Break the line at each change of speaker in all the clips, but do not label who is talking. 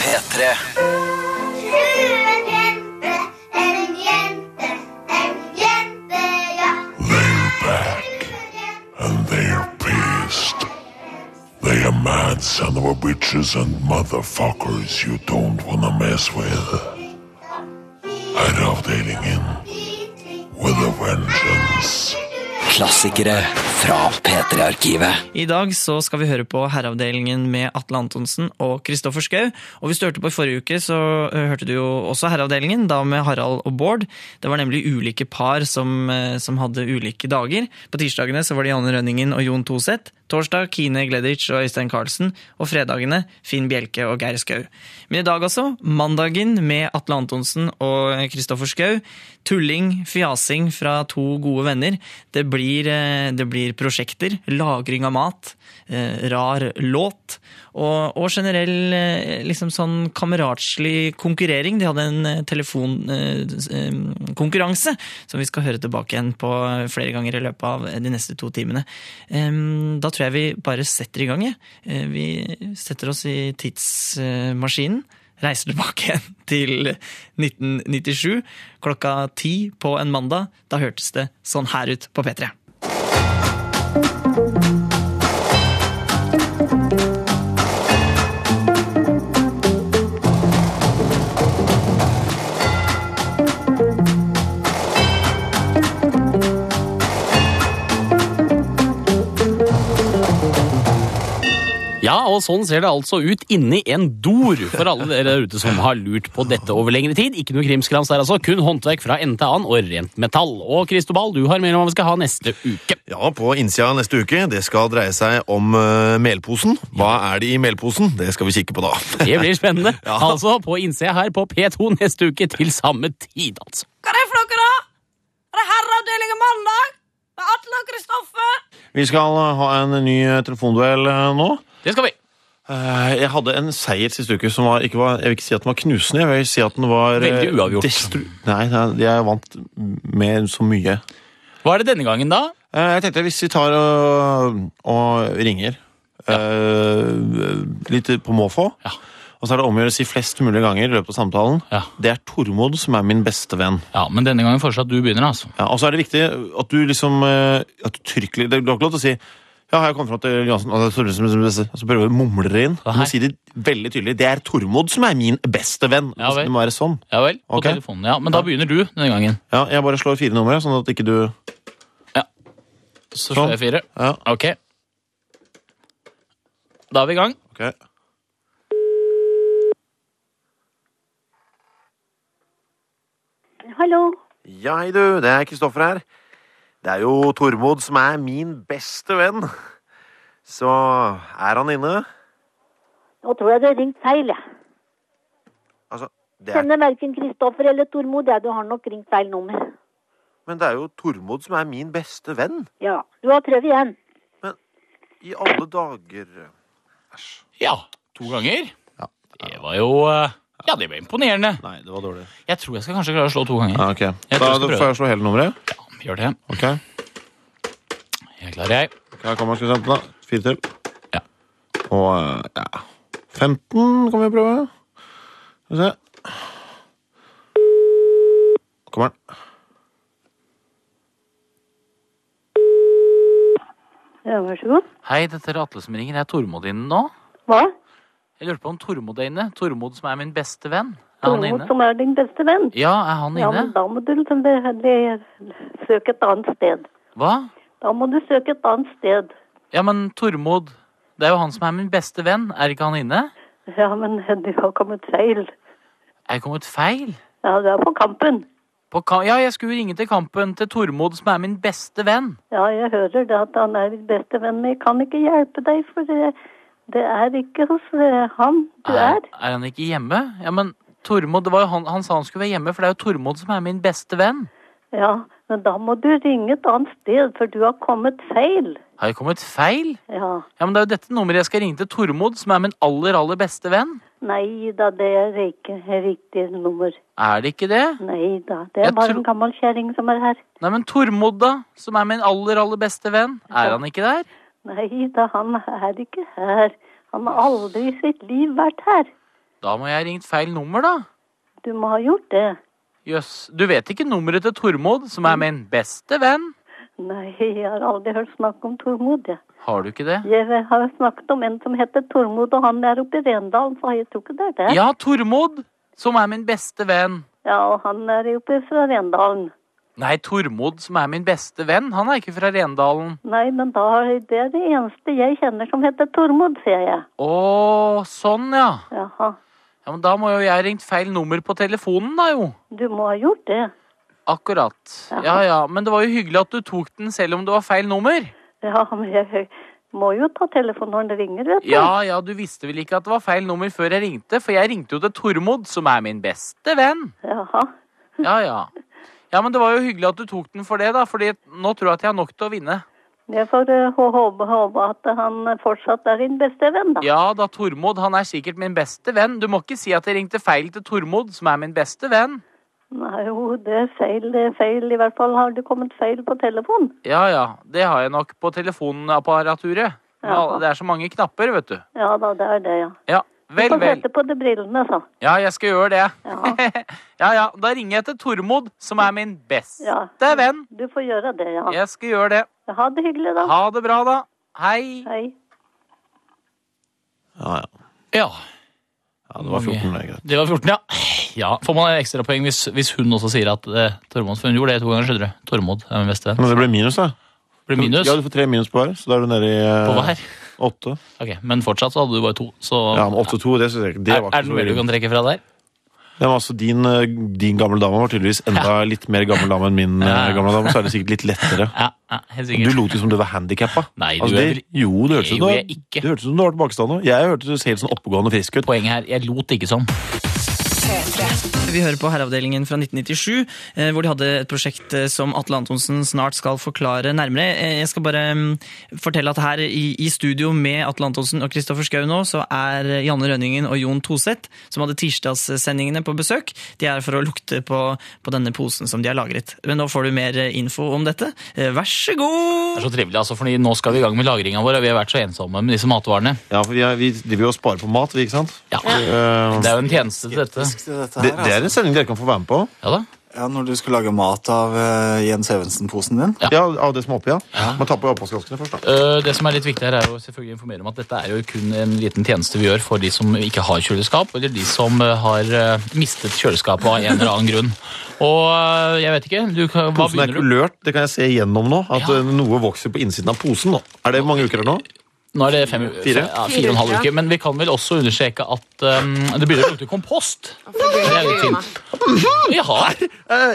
P3.
Fruen jente er en jente, en jente, ja.
and they're pissed. They are mad son of a bitches and motherfuckers you don't wanna mess with. I love dating in with a vengeance.
Klassikere fra P3-arkivet.
I dag så skal vi høre på Herreavdelingen med Atle Antonsen og Kristoffer Schou. Og hvis du hørte på i forrige uke, så eh, hørte du jo også Herreavdelingen, da med Harald og Bård. Det var nemlig ulike par som, eh, som hadde ulike dager. På tirsdagene så var det Janne Rønningen og Jon Toseth. Torsdag Kine Gleditsch og Øystein Carlsen. Og fredagene Finn Bjelke og Geir Skau. Men i dag også, mandagen med Atle Antonsen og Kristoffer Schou. Tulling, fjasing fra to gode venner. Det blir, eh, det blir prosjekter, lagring av mat, eh, rar låt og, og generell eh, liksom sånn kameratslig konkurrering. De hadde en eh, telefonkonkurranse som vi skal høre tilbake igjen på flere ganger i løpet av de neste to timene. Em, Da tror jeg vi bare setter i gang. jeg. Eh, Vi setter oss i tidsmaskinen reiser tilbake igjen til 1997 klokka ti på en mandag. Da hørtes det sånn her ut på P3.
Ja, og sånn ser det altså ut inni en dor for alle dere der ute som har lurt på dette over lengre tid. Ikke noe krimskrams der altså, kun håndverk fra ende til annen og rent metall. Og Kristobal, du har mer om hva vi skal ha neste uke.
Ja, på innsida neste uke. Det skal dreie seg om eh, melposen. Hva er det i melposen? Det skal vi kikke på da.
Det blir spennende.
Ja.
Altså, på innsida her på P2 neste uke til samme tid, altså.
Hva er det for noe, da? Er det Herreavdelingen mandag? Med Atle og Kristoffer?
Vi skal eh, ha en ny eh, telefonduell eh, nå.
Det skal vi.
Eh, Jeg hadde en seier sist uke som var, ikke var Jeg vil ikke si at den var knusende. Jeg vil si at den var eh,
Veldig uavgjort.
destru- Nei, nei, jeg vant med så mye.
Hva er det denne gangen, da?
Eh, Jeg tenkte hvis vi tar og, og ringer eh, litt på måfå,
Ja.
og så er det om å gjøre å si flest mulig ganger i løpet av samtalen
Ja.
Det er Tormod som er min beste venn.
Ja, Men denne gangen foreslår jeg at du begynner, altså.
Ja, og så er det viktig at du liksom eh, At du trykker litt. Du har ikke lov til å si ja, jeg kommer frem til Johansen, og så prøver du å mumle det inn. Du må
Nei.
si det veldig tydelig. Det er Tormod som er min beste venn.
Ja, vel.
det må være sånn.
Ja vel, på
Ok.
telefonen. Ja, Men da begynner du denne gangen.
Ja, jeg bare slår fire numre, sånn at ikke du
Så slår jeg fire.
Ja,
Ok. Da er vi i gang.
ok.
Hallo.
Ja, hei du, det er Kristoffer her. Det er jo Tormod som er min beste venn. Så er han inne?
Nå tror jeg du har ringt feil. jeg.
Altså, det er,
Kjenner verken Kristoffer eller Tormod. Ja, du har nok ringt feil nummer.
men det er jo Tormod som er min beste venn.
Ja, du har prøvd igjen.
I alle dager.
Ja, to ganger. Det var jo eh, Ja, det ble imponerende.
Nei, det var dårlig.
Jeg tror jeg skal kanskje klare å slå to ganger.
Ja, ok.
Jeg
Da
tror jeg skal prøve.
får jeg slå hele nummeret.
Gjør det.
Ok.
Jeg klarer jeg.
Her kommer skal vi se på da. Fire til.
Ja.
Og eh, ja 15 kan vi prøve. Skal vi se. Kommer den.
Ja, vær så god.
Hei, dette er Atle som ringer. Er Tormod inne nå?
Hva?
Jeg lurte på om Tormod er inne. Tormod som er min beste venn. Er han
Tormod
inne?
som er din beste venn?
Ja, er han
Ja, men
inne?
da må du liksom be- be- søke et annet sted.
Hva?
Da må du søke et annet sted.
Ja, men Tormod Det er jo han som er min beste venn. Er ikke han inne?
Ja, men du har kommet feil.
Er det kommet feil?
Ja, du er på kampen.
På ka ja, jeg skulle ringe til Kampen til Tormod, som er min beste venn.
Ja, jeg hører det at han er din beste venn, men jeg kan ikke hjelpe deg, for det, det er ikke hos eh, han du er.
er han ikke hjemme? Ja, men Tormod, det var jo han, han sa han skulle være hjemme, for det er jo Tormod som er min beste venn.
Ja, men da må du ringe et annet sted, for du har kommet feil.
Har jeg kommet feil?
Ja.
Ja, men det er jo dette nummeret jeg skal ringe til Tormod, som er min aller, aller beste venn.
Nei da, det er ikke riktig nummer.
Er det ikke det?
Nei da, det er
Jeg
bare
tror-
en gammel kjerring som er her.
Nei, men Tormod, da, som er min aller, aller beste venn, er han ikke der?
Nei da, han er ikke her. Han har aldri i sitt liv vært her.
Da må jeg ha ringt feil nummer, da.
Du må ha gjort det.
Jøss. Du vet ikke nummeret til Tormod, som er min beste venn?
Nei, jeg har aldri hørt snakk om Tormod, jeg.
Har du ikke det?
Jeg har snakket om en som heter Tormod, og han er oppe i Rendalen, så jeg tror ikke det er det.
Ja, Tormod, som er min beste venn.
Ja, og han er jo oppe fra Rendalen.
Nei, Tormod, som er min beste venn, han er ikke fra Rendalen.
Nei, men da er det er det eneste jeg kjenner som heter Tormod, sier jeg.
Å, sånn, ja.
Jaha,
Ja, men Da må jo jeg ha ringt feil nummer på telefonen, da jo.
du må ha gjort det.
Akkurat. Ja ja, men det var jo hyggelig at du tok den selv om det var feil nummer.
Ja, men jeg må jo ta telefonen når den ringer, vet du.
Ja ja, du visste vel ikke at det var feil nummer før jeg ringte, for jeg ringte jo til Tormod, som er min beste venn.
Jaha.
Ja ja. Ja, men det var jo hyggelig at du tok den for det, da, fordi nå tror jeg at jeg har nok til å vinne.
Jeg får eh, hå- håpe, håpe at han fortsatt er din beste venn, da.
Ja da, Tormod, han er sikkert min beste venn. Du må ikke si at jeg ringte feil til Tormod, som er min beste venn.
Nei, jo, det er feil, det er feil. I hvert fall har det kommet feil på telefon.
Ja ja, det har jeg nok på telefonapparaturet. Men
Ja.
alle- Det er så mange knapper, vet du.
Ja da, det er det, ja.
Ja, vel,
Få
vel.
sette på de brillene, altså. så.
Ja, jeg skal gjøre det.
Ja.
ja, ja. Da ringer jeg til Tormod, som er min beste
Ja.
venn.
Du får gjøre det, ja.
Jeg skal gjøre det.
Ha det hyggelig, da.
Ha det bra, da. Hei.
Hei.
Ja, ja.
Ja,
ja det var 14, det er greit.
det var 14, ja. Ja, Får man ekstrapoeng hvis, hvis hun også sier at eh, Tormod For hun gjorde det to ganger, skjønner du. Tormod er min beste venn.
Men det ble minus, da.
Blir minus
Ja, du får tre minus på hver, så da er du nede i eh,
på hver.
åtte.
Ok, Men fortsatt så hadde du bare to. Så
Ja, men 8-2, det synes jeg ikke. Det
er, er
var
det
ikke så
noe mer du
ille.
kan trekke fra der?
Ja, men altså, din, eh, din gamle dame var tydeligvis enda litt mer gammel dame enn min eh,
Ja.
gamle dame, så er det sikkert litt lettere.
Ja, ja helt
Du
sikkert.
lot jo som du var handikappa.
Nei, du
Altså,
er
det, jo, det hørtes
Det
ut som du
gjorde
var-
jeg ikke.
det hørtes ut som du var tilbakestående. Jeg hørtes helt sånn oppegående og frisk ut.
Poenget her, jeg lot ikke som.
Vi hører på Herreavdelingen fra 1997, eh, hvor de hadde et prosjekt eh, som Atle Antonsen snart skal forklare nærmere. Eh, Jeg skal bare mm, fortelle at her i, i studio med Atle Antonsen og Kristoffer Schou nå, så er eh, Janne Rønningen og Jon Toseth, som hadde tirsdagssendingene på besøk, de er for å lukte på, på denne posen som de har lagret. Men nå får du mer eh, info om dette. Eh, Vær så
Det
god!
er så trivelig, altså, fordi nå skal vi i gang med lagringa vår, og vi har vært så ensomme med disse matvarene.
Ja, for vi, er, vi driver jo og sparer på mat, vi, ikke sant?
Ja,
Eh,
Det er jo en tjeneste til dette.
det, det er en sending dere kan få være med på.
Ja da.
altså. Ja, Når du skulle lage mat av eh, Jens Evensen-posen din?
Ja, Av det som er oppi, ja. Man tar på oppvaskhanskene først, da.
Eh, Det som er litt viktig her, er jo selvfølgelig å informere om at dette er jo kun en liten tjeneste vi gjør for de som ikke har kjøleskap, eller de som eh, har eh, mistet kjøleskapet av en eller annen grunn. Og eh, jeg vet ikke du, kan- Hva
Posen er
begynner du?
kulørt, det kan jeg se gjennom nå. At
Ja.
eh, noe vokser på innsiden av posen. nå. Er det mange uker her nå?
Nå er det fem,
Fire?
fire, ja, fire og en halv uke, men vi kan vel også understreke at eh, det begynner å lukte kompost. Det er litt fint. Jaha.
Eh,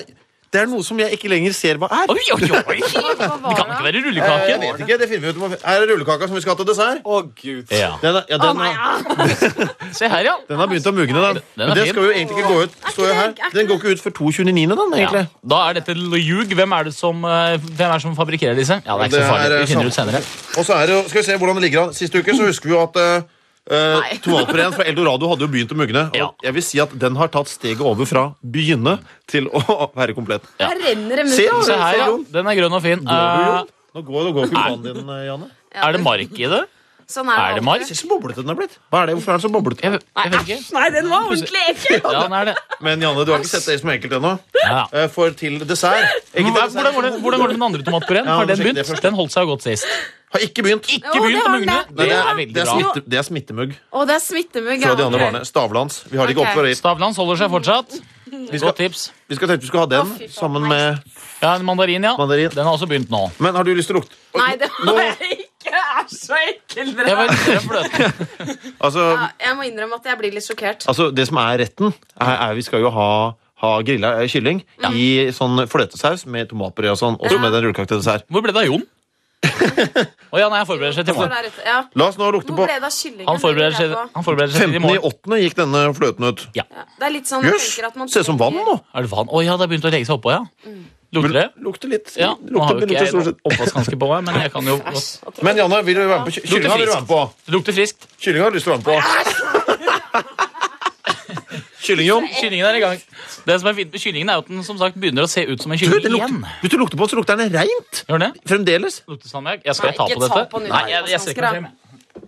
det er noe som jeg ikke lenger ser hva er.
Oi, oi, oi! Det kan ikke være
Eh, Jeg
rullekake.
vet ikke, det finner vi ut om. Her er rullekaka som vi skal ha til dessert.
Å, gud.
Ja.
Den, er, ja, den, har-
Se her, ja.
den har begynt å mugne, den.
Den er
Men det
fin.
skal jo egentlig ikke gå ut. Står jo her. Den går ikke ut før 2.29., den, egentlig.
Ja. Da er dette ljug. Hvem er det som, eh, hvem er det som fabrikkerer disse? Ja, Det er ikke
Det
så farlig.
er, eh,
Vi finner ut
samme-
senere.
Og så er det jo, skal vi se hvordan det ligger an. Siste uke så husker vi jo at uh, tomatpureen fra Eldorado hadde jo begynt å mugne. Og
Ja.
jeg vil si at den har tatt steget over fra begynne til å være komplett.
Ja.
Her renner altså. det
Se, ja,
Se her, ja.
Jon.
Den er grønn og fin. Eh,
Nå går, nå går kumpanen din, eh, Janne.
er det mark i det?
Sånn
Er det mark?
Se så boblete den er blitt. Hva er det? Hvorfor er den så boblete?
Jeg, jeg vet ikke.
Nei, den var ordentlig ekkel.
Ja, den er det.
Men Janne, du har ikke sett det som enkelt ennå.
Ja.
Eh, For til dessert Ikke
Hvordan, hvordan,
til
går
dessert.
det, hvordan går det med den andre tomatpureen?
Ja,
Har den
sjekk det
begynt?
først.
Den holdt seg jo godt sist.
Har ikke begynt.
Ikke begynt å mugne.
Nei,
Det
det,
er
er, det,
veldig
er
bra.
smitte, det er smittemugg
Og det er smittemugg.
fra de andre varene. Stavla hans. Vi har det ikke
Ok.
oppe for øyet.
Stavlands holder seg fortsatt.
Vi, skal-
Godt tips.
vi skal tenke vi skal ha den sammen med
Ja, en mandarin, ja.
Mandarin.
Den har også begynt nå.
Men har du lyst til å lukte?
Nei, det var jeg ikke. Det er så ekkel,
Jeg
dere.
var litt redd for det.
Altså,
Ja, Jeg må innrømme at jeg blir litt sjokkert.
altså det som er retten, er, er vi skal jo ha ha grilla eh, kylling i sånn fløtesaus med tomatpuré og sånn. Også med den rullekaka til dessert.
Hvor ble det av Jon? Å ja, nei, jeg forbereder seg til i
Hvor
morgen.
er det- Ja.
La oss nå lukte
Hvor
på
ble det av kyllingen?
Han forbereder seg, han forbereder seg
15
til i
i
morgen.
åttende gikk denne fløten ut.
Det er litt sånn jeg
Jøss,
tenker at man
se som vann nå.
Er det vann? Å ja, det har begynt å legge seg oppå, ja.
Mm.
Lukter det?
Lukter litt.
Ja, nå har jo ikke
lukter, lukter
jeg
stort sett.
oppvaskhanske på meg, men jeg kan jo godt
Men Janne, vil du være med på ky- kyllinga? vil du være med på?
Det lukter friskt.
Kyllinga har du lyst til å være med på. Kylling-Jon.
Kyllingen er i gang. Det som er fint med kyllingen, er jo at den som sagt begynner å se ut som en
Du,
kylling
det
igjen.
lukter, hvis du lukter på den, så lukter den reint.
Gjør den det?
Fremdeles.
Lukter salmiakk? Jeg skal
Nei,
ta
ikke
på dette.
ta på den
Nei, jeg, jeg ser ikke
oppvaskhansker,
frem.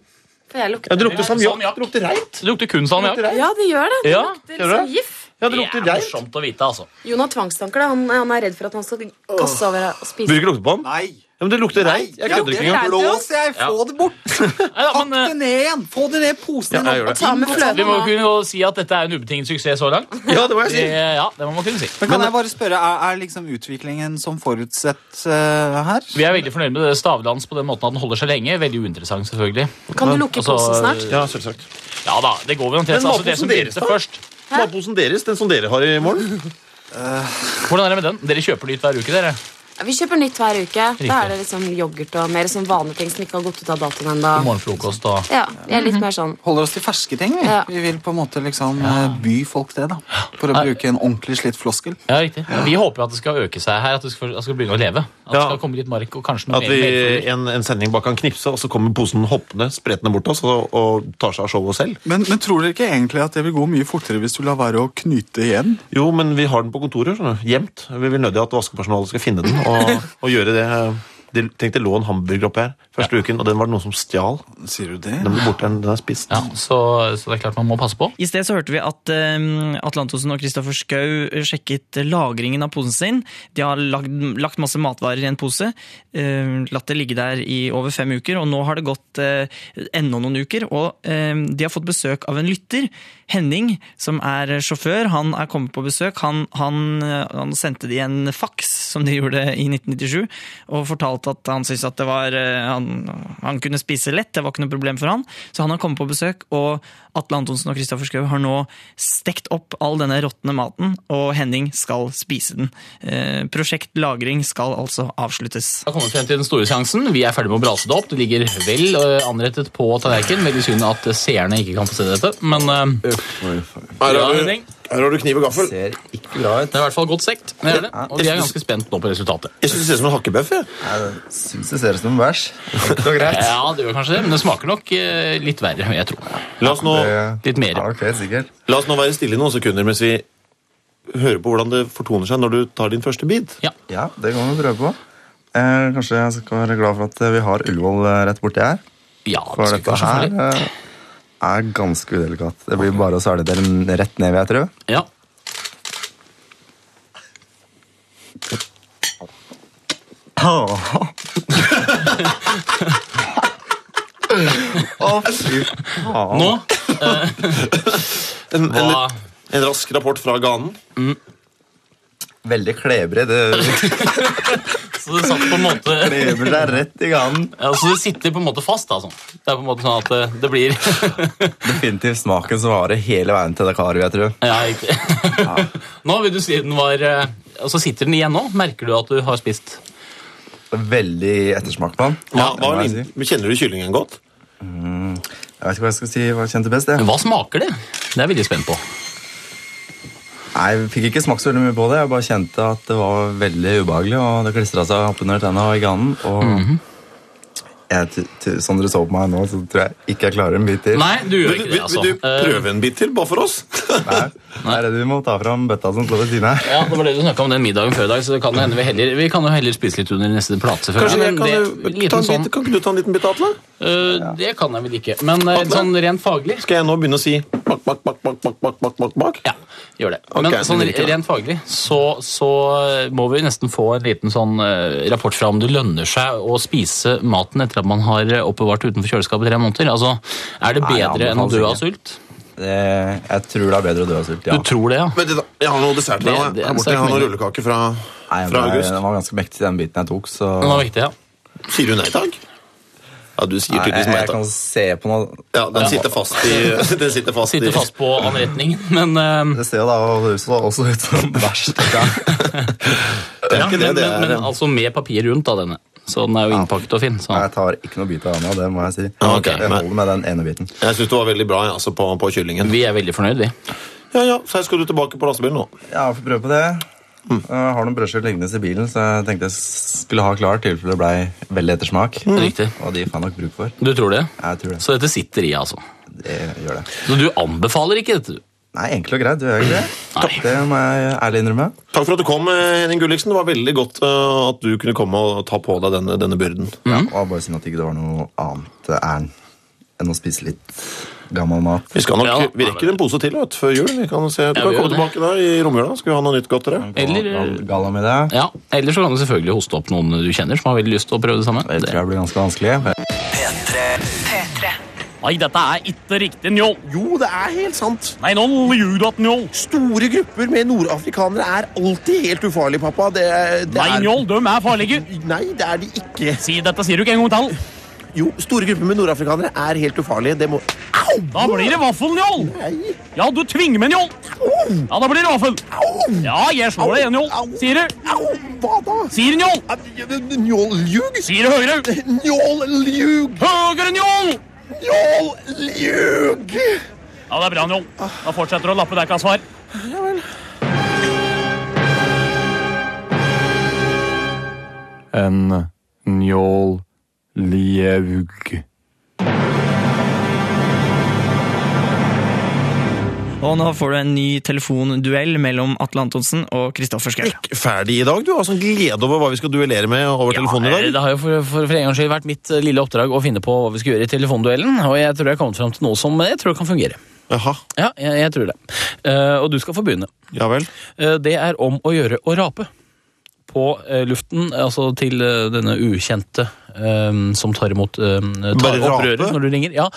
For jeg lukter
Ja, det lukter salmiakk. Det lukter reint. Det lukter kun salmiakk.
Ja, det gjør det. Det
Ja,
lukter
gjør det?
liksom gif.
Ja, det lukter reint. Morsomt å vite, altså.
Jon har tvangstanker. da. Han, han er redd for at han skal kaste over og spise.
Vil du ikke lukte på den?
Nei.
Ja, men det lukter reint. Jeg
Ja,
kødder
det
ikke
er
engang.
blås, jeg. Få det bort.
Pakk
det ned igjen. Få det ned i posen.
Ja, jeg gjør det. eh, Vi må jo
igjen.
kunne si at dette er en ubetinget suksess så langt.
Ja, det må jeg si.
Ja, det må man kunne si.
Men kan jeg bare spørre, er, er liksom utviklingen som forutsett eh, her?
Vi er veldig fornøyd med det stavdans på den måten at den holder seg lenge. Veldig uinteressant, selvfølgelig.
Kan du lukke
Altså,
posen snart?
Ja, selvsagt.
Ja da, det går vel omtrent.
Men
Altså, det som
matposen deres,
begynte
da?
først.
Matposen deres, den som dere har i morgen?
Hvordan er det med den? Dere kjøper nytt hver uke, dere.
Ja, Vi kjøper nytt hver uke. Da
Riktig.
er det liksom yoghurt og mer sånn vanlige ting som ikke har gått ut av datoen
På
ennå.
morgenfrokost og
Ja, jeg er litt mer sånn
Holder oss til ferske ting. Vi,
Ja.
vi vil på en måte liksom eh, by folk det, da. For å bruke en ordentlig slitt floskel.
Ja, riktig. Men Vi håper jo at det skal øke seg her, at det skal, at det skal begynne å leve. At det skal komme litt mark og kanskje noe
At vi
mer.
en, en sending bare kan knipse, og så kommer posen hoppende, spretende bort oss og, og tar seg av showet selv?
Men, men tror dere ikke egentlig at det vil gå mye fortere hvis du lar være å knyte igjen?
Jo, men vi har den på kontoret, skjønner du. Gjemt. Vi vil nødig at vaskepersonalet skal finne den og, og gjøre det. De, tenk, det lå en hamburger oppe her første uken, og den var det noen som stjal.
Sier du det?
Den ble borte, den er spist.
Ja, så, så det er klart man må passe på.
I sted så hørte vi at eh, Atle Antonsen og Kristoffer Schou sjekket lagringen av posen sin. De har lagd, lagt masse matvarer i en pose, eh, latt det ligge der i over fem uker, og nå har det gått eh, enda noen uker. Og eh, de har fått besøk av en lytter, Henning, som er sjåfør. Han er kommet på besøk. Han, han, eh, han sendte de en faks, som de gjorde i 1997, og fortalte at han syntes at det var eh, han, han kunne spise lett, det var ikke noe problem for han. Så han har kommet på besøk, og Atle Antonsen og Kristoffer Schou har nå stekt opp all denne råtne maten, og Henning skal spise den. Eh, Prosjekt lagring skal altså avsluttes.
Da kommer vi frem til den store seansen. Vi er ferdig med å brase det opp. Det ligger vel eh, anrettet på tallerkenen. Veldig synd at eh, seerne ikke kan få se dette, men eh,
Her
Ja,
har, du,
Henning.
her har du kniv og gaffel. Ser
det er i hvert fall godt stekt. Det er det. Og vi er ganske spent nå på resultatet.
Jeg syns det ser ut som en hakkebøff. jeg.
Syns det ser ut som en bæsj. Det går greit.
Ja, det gjør kanskje det, men det smaker nok eh, litt verre, jeg tror.
La oss nå,
Litt mer.
la oss nå være stille i noen sekunder mens vi hører på hvordan det fortoner seg når du tar din første bit.
Ja, det kan vi prøve på. Eh, kanskje jeg skal være glad for at eh, vi har Ullevål eh, rett borti her.
Ja,
for dette her eh, er ganske udelikat. Det blir bare å svelge det rett ned, vil jeg tro.
Ja.
Å, fy faen.
Nå? Eh, en, en, en rask rapport fra ganen.
Veldig klebrig. Det
Så det satt på en måte
Krever deg rett i ganen.
Ja, så det sitter på en måte fast, altså. Det er på en måte sånn at eh, det blir
definitivt smaken som varer hele veien til Dakar, vil jeg tro.
Ja, riktig. Nå vil du si den var eh, Altså sitter den igjen nå? Merker du at du har spist?
Veldig ettersmak på den.
Hva,
det må
hva,
jeg
kjenner du kyllingen godt?
Mm, jeg vet ikke hva jeg skal si. Hva jeg kjente best? Jeg.
Hva smaker det? Det er jeg veldig spent på.
Nei, Jeg fikk ikke smakt så veldig mye på det. Jeg bare kjente at det var veldig ubehagelig, og det klistra seg oppunder tenna og i ganen. Og
Mhm.
jeg, t- t- som dere så på meg nå, så tror jeg ikke jeg klarer en bit til.
Nei, du gjør ikke det, altså.
Vil du prøve
en bit til, bare for oss?
Nei, det er det du må ta fram bøtta som står ved siden her.
Eh, Ja, Det var det du snakka om den middagen før i dag, så det kan hende vi heller Vi kan jo heller spise litt under neste plate, selvfølgelig.
Kanskje jeg
men
kan,
det,
ta en
liten sånn,
bit, kan ikke du ta en liten bit, Atle?
eh, det kan jeg vel ikke. Men eh, sånn rent faglig
Skal jeg nå begynne å si bak, bak, bak, bak, bak, bak, bak, bak, bak?
Ja, gjør det.
Ok,
Men
det
sånn,
vil ikke, da.
rent faglig så, så må vi nesten få en liten sånn eh, rapport fra om det lønner seg å spise maten etter at man har eh, oppbevart utenfor kjøleskapet i tre måneder. Altså, Er det
Nei, jeg
bedre enn å
anbefales
dø
ikke.
av sult?
Det, jeg tror det er bedre å dø av sult, ja.
Du tror det, ja?
Men det, da- jeg har noe dessert til
Det-
deg.
det er
da. Her
en
borte,
sterk
Jeg har noen
mening.
rullekaker fra,
Nei, men
fra
det-
august.
Den var ganske mektig, den biten jeg tok. Så...
Den var viktig, ja.
Sier du nei takk? Ja, du sier
Nei, jeg,
tydeligvis nei
jeg kan
takk.
se på noe
Ja, den sitter fast i Den sitter fast i
Sitter fast på anretning, men eh,
Det ser jo da også, også ut som bæsj. Ja.
Det er
ja,
ikke
men,
det, det
men, men
er
altså med papir rundt, da, denne. Så den er jo innpakket og fin. Så.
Jeg tar ikke noe bit av Anna, det må jeg si.
Ja, ok,
Jeg holder med den ene biten.
Jeg syns du var veldig bra jeg, altså, på, på kyllingen.
Vi er veldig fornøyd, vi.
Ja, ja, så her skal du tilbake på lastebilen nå.
Ja, jeg får prøve på det. Jeg har noen brødskiver liggende i bilen, så jeg tenkte jeg skulle ha klar til for det ble veldig ettersmak.
Mm.
Riktig.
Og de får jeg nok bruk for.
Du tror det?
Jeg tror det.
Så dette sitter i, altså.
Det gjør det.
Så du anbefaler ikke dette? du?
Nei, enkelt og greit. Du gjør ikke det. Det må jeg ærlig innrømme.
Takk for at du kom, eh, Henning Gulliksen. Det var veldig godt eh, at du kunne komme og ta på deg denne, denne byrden.
Det var bare synd at det ikke var noe annet ærend eh, enn å spise litt gammel mat.
Vi skal nok, vi rekker en pose til vet, du, før jul. Vi kan se, du
Ja, vi
kan
gjør
komme
det.
tilbake da i romjula. Skal vi ha noe nytt godt til deg?
Eller- Galamiddag.
Ja, eller så kan du selvfølgelig hoste opp noen du kjenner som har veldig lyst til å prøve det samme. Det tror
jeg blir ganske vanskelig.
Nei, dette er ikke riktig, Njål.
Jo, det er helt sant.
Nei, nå ljuger du at Njål.
Store grupper med nordafrikanere er alltid helt ufarlige, pappa. Det, det
Nei,
er...
Njål, de er farlige.
Nei, det er de ikke.
Si Dette sier du ikke en gang til.
Jo, store grupper med nordafrikanere er helt ufarlige. Det må Au!
Da blir det vaffel, Njål. Ja, du tvinger meg, Njål. Ja, da blir det vaffel. Ja, jeg slår deg igjen, Njål. Sier du?
Hva da?
Sier Njål.
Njål ljug?
Sier det høyere.
Njål ljug.
Høyere, Njål.
Njål ljug.
Ja, det er bra, Njål. Da fortsetter du å lappe dekka svar.
Ja vel.
En njål ljeug.
Og nå får du en ny telefonduell mellom Atle Antonsen og Kristoffer Schou.
Ferdig i dag, du.
sånn
Altså, glede over hva vi skal duellere med over telefonen i dag.
Det har jo for, for, for en gangs skyld vært mitt eh, lille oppdrag å finne på hva vi skal gjøre i telefonduellen, og jeg tror jeg har kommet fram til noe som jeg tror kan fungere. Ja, jeg, jeg tror det. Eh, og du skal få begynne. Eh, det er om å gjøre å rape. På eh, luften, altså til eh, denne ukjente eh, som tar imot eh, tar
Bare
opp
rape?
røret når du ringer. Ja,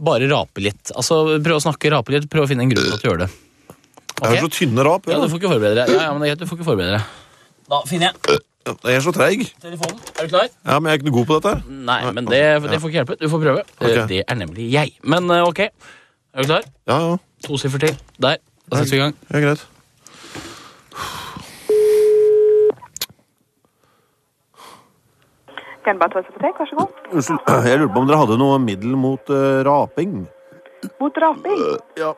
bare rape litt. Altså, prøv å snakke, rape litt, prøv å finne en grunn til at du gjør det.
Jeg har så tynne rap.
Ja, du får ikke forberede deg. Ja, ja, men det er greit, du får ikke forberede deg. Da finner jeg
Jeg er så treig.
telefonen. Er du klar?
Ja, men jeg er ikke noe god på dette. her.
Nei, men det, det får ikke hjelpe. Du får prøve.
Ok.
Eh, Det er nemlig jeg. Men eh, ok, er du klar?
Ja, ja.
To siffer til. Der. Da setter vi i gang.
Ja, greit.
Genbartholds apotek, vær så god.
Unnskyld, jeg lurte på om dere hadde noe middel mot eh, raping?
Mot raping?
Ja.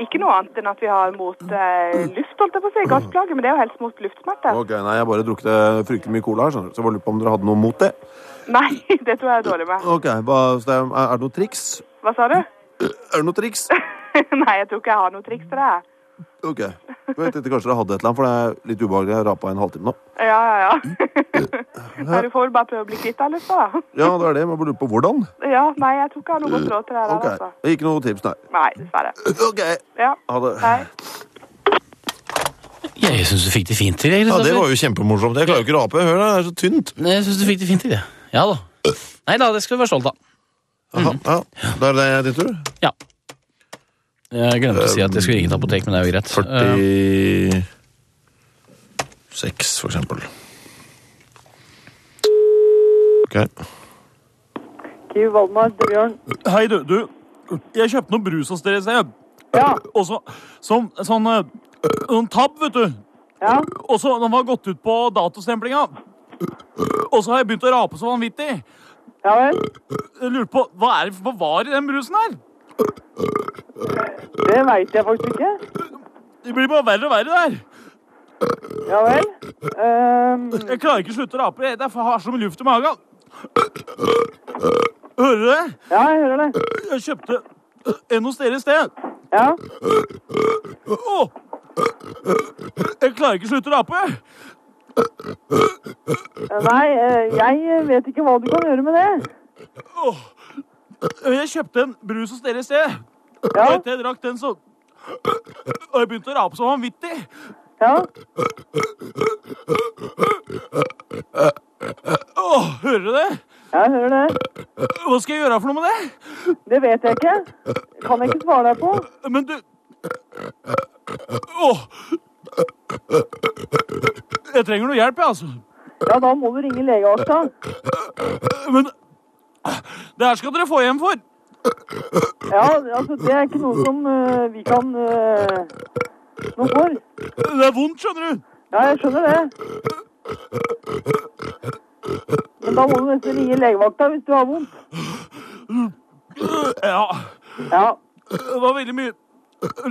Ikke noe annet enn at vi har mot eh, luft, holdt jeg på å si, gassplager, men det er jo helst mot luftsmerte.
Ok, nei, Jeg har bare drukket eh, fryktelig mye cola, her, skjønner du. så jeg bare lurte på om dere hadde noe mot det.
Nei, det tror jeg er dårlig med.
Ok, hva, så det er, er det noe triks?
Hva sa du?
Er det noe triks?
Nei, jeg tror ikke jeg har noe triks til det.
Ok. Jeg tenkte kanskje dere hadde et eller annet, for det er litt ubehagelig. Jeg rapa i en halvtime nå.
Ja, ja, ja. Nei, du får vel bare prøve å bli kvitt deg litt, da.
Ja, det er det. Man bare lurer på hvordan.
Ja, nei, jeg tror ikke jeg har noe godt råd til det der,
Ok,
altså.
Ikke noe tips, nei.
Nei, dessverre.
Ok.
Ja.
Ha det.
Hei.
Jeg syns du fikk det fint til. jeg,
Ja, Det
Kristoffer.
var jo kjempemorsomt. Jeg klarer jo ikke å rape. Hør, da, det er så tynt.
Nei, Jeg syns du fikk det fint til, jeg. Ja da. Nei da, det skal du være stolt av.
Mm.
Aha, ja. Da er det din tur.
Ja. Jeg glemte å si at jeg skulle ringe et apotek, men det er jo greit.
Eh.
Eh,
46, for eksempel. Ok.
Kiv Valdemar, det er Bjørn.
Hei, du. du. Jeg kjøpte noe brus hos dere i sted. Og så sånn, sånn eh, Noen tabb, vet du. Og så Den var gått ut på datostemplinga. Og så har jeg begynt å rape så vanvittig. Ja vel? Jeg lurer på Hva er det for var i den brusen her?
Det veit jeg faktisk ikke.
Det blir bare verre og verre der.
Ja vel? Ehm.
Jeg klarer ikke å slutte å rape. Jeg jeg har så mye luft i magen. Hører du det? Ja, jeg hører det. Jeg kjøpte en hos dere i sted. Ja. Åh! Jeg klarer ikke å slutte å rape.
Nei, eh, jeg vet ikke hva du kan gjøre med det.
Åh! Øh, Jeg kjøpte en brus hos dere i sted. Ja. Og etter jeg drakk den, så Og jeg begynte å rape som vanvittig. Ja. Åh, hører du det?
Jeg hører det.
Hva skal jeg gjøre for noe med det?
Det vet jeg ikke. Kan jeg ikke svare deg på.
Men du Åh! Jeg trenger noe hjelp, jeg, altså.
Ja, da må du ringe legevakta.
Men det her skal dere få hjem for.
Ja, altså, det er ikke noe som eh, vi kan eh, noe for.
Det er vondt, skjønner du.
Ja, jeg skjønner det. Men da må du nesten ringe legevakta hvis du har vondt.
Ja. Det var veldig mye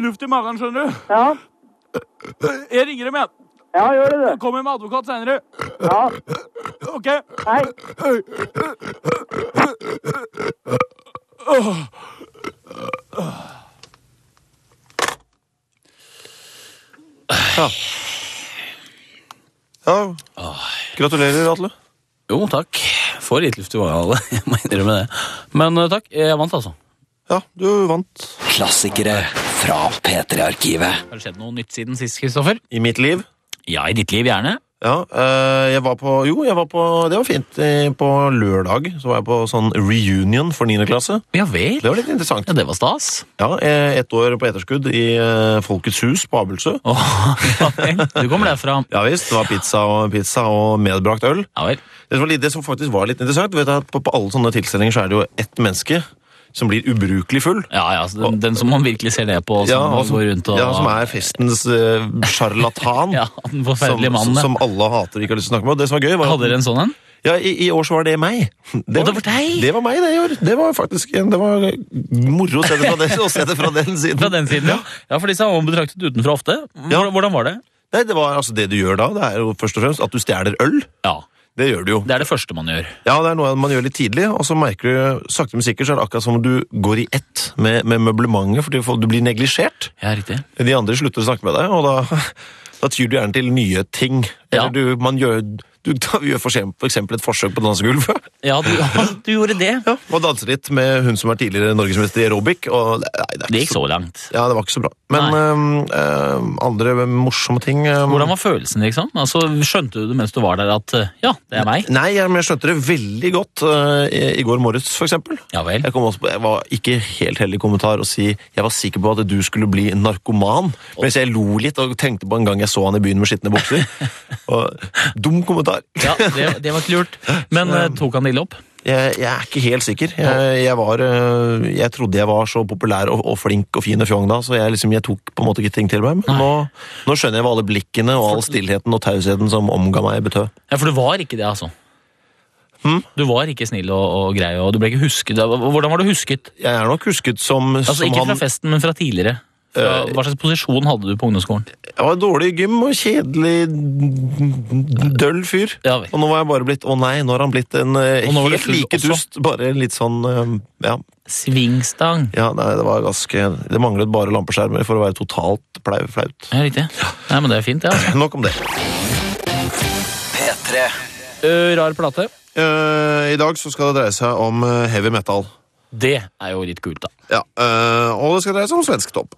luft i magen, skjønner du. Ja. Jeg ringer dem, jeg. Ja, gjør det, du. Kommer med advokat seinere. Ja. OK. Hei.
Ja. ja. Gratulerer, Atle.
Jo, takk
for litt luft i vannhalet. Jeg må innrømme det. Men eh, takk, jeg vant altså.
Ja, du vant.
Klassikere fra P3-arkivet.
Har det skjedd noe nytt siden sist, Kristoffer?
I mitt liv?
Ja, i ditt liv gjerne.
Ja, eh, jeg var på Jo, jeg var på Det var fint. Eh, På lørdag så var jeg på sånn reunion for 9. klasse.
Ja vel.
Det var litt interessant.
Ja, det var stas.
Ja, eh, Ett år på etterskudd i eh, Folkets hus på Abelsø.
Du kommer derfra.
Ja visst. Det var pizza og, pizza og medbrakt øl. Det, som var, litt- det som faktisk var litt interessant, du vet at på, på alle sånne tilstelninger så er det jo ett menneske som blir ubrukelig full.
Ja, ja, så den, den som man virkelig ser ned på, som
Ja, og som-
går rundt og
ja, som er festens eh, sjarlatan.
den forferdelige
som,
mannen, ja.
Som, som alle hater og ikke har lyst til å snakke med. Og det som var gøy, var
Hadde dere en sånn en?
Ja, i, i år så var det meg. Det var, det var meg det i år. Det var faktisk en, det var moro å se det fra den, å se det fra den siden.
Fra den siden, ja. ja for disse er man betraktet utenfra ofte. Hvordan, hvordan var det?
Nei, det var altså det du gjør da, det er jo først og fremst at du stjeler øl.
Ja.
Det gjør du jo.
Det er det første man gjør.
Ja, det er noe man gjør litt tidlig, og så merker du sakte men sikkert så er det akkurat som om du går i ett med, med møblementet, fordi folk- du blir neglisjert.
Ja, riktig.
De andre slutter å snakke med deg, og da, da tyr du gjerne til nye ting. Eller du, man gjør, du da, gjør for eksempel, for eksempel et forsøk på dansegulvet.
Ja, du, gjorde det.
Ja, og danse litt med hun som er tidligere norgesmester i aerobic. Og, nei, det, er ikke
gikk så langt.
Ja, det var ikke så bra. Men øhm, øhm, andre morsomme ting øhm,
Hvordan var følelsen, liksom? Altså, skjønte du det mens du var der at eh, ja, det er meg?
Nei, jeg, men jeg skjønte det veldig godt øh, i, i går morges, for eksempel. Jeg, kom også på, jeg var ikke helt heldig i kommentar å si jeg var sikker på at du skulle bli narkoman, mens jeg lo litt og tenkte på en gang jeg så han i byen med skitne bukser. og, dum kommentar.
Ja, det, det var ikke lurt. Men eh, tok han det ille opp?
Jeg, jeg er ikke helt sikker. Jeg, jeg, var, øh, jeg trodde jeg var så populær og, og flink og fin og fjong da, så jeg, liksom, jeg tok på en måte ikke ting til meg. Men nå, nå skjønner jeg hva alle blikkene og all stillheten og tausheten som omga meg, betød.
Ja, for du var ikke det, altså. Du var ikke snill og, og grei, og du ble ikke husket. Hvordan var du husket?
Jeg er nok husket som,
Altså,
som
Ikke
han-
fra festen, men fra tidligere. Fra, hva slags posisjon hadde du på ungdomsskolen?
Jeg var dårlig i gym og kjedelig døll fyr. og nå var jeg bare blitt Å nei, nå har han blitt en eh,
Og nå var du
helt
full
like
også.
dust, bare litt sånn eh, ja.
Svingstang.
Ja, nei, det var ganske Det manglet bare lampeskjermer for å være totalt plau, flaut.
Ja, riktig. Nei, men det er fint, det. Altså.
Nok om det.
P3.
Eh, rar plate.
Eh, I dag så skal det dreie seg om eh, heavy metal.
Det er jo litt kult, da.
Ja, eh, Og det skal dreie seg om svensk topp.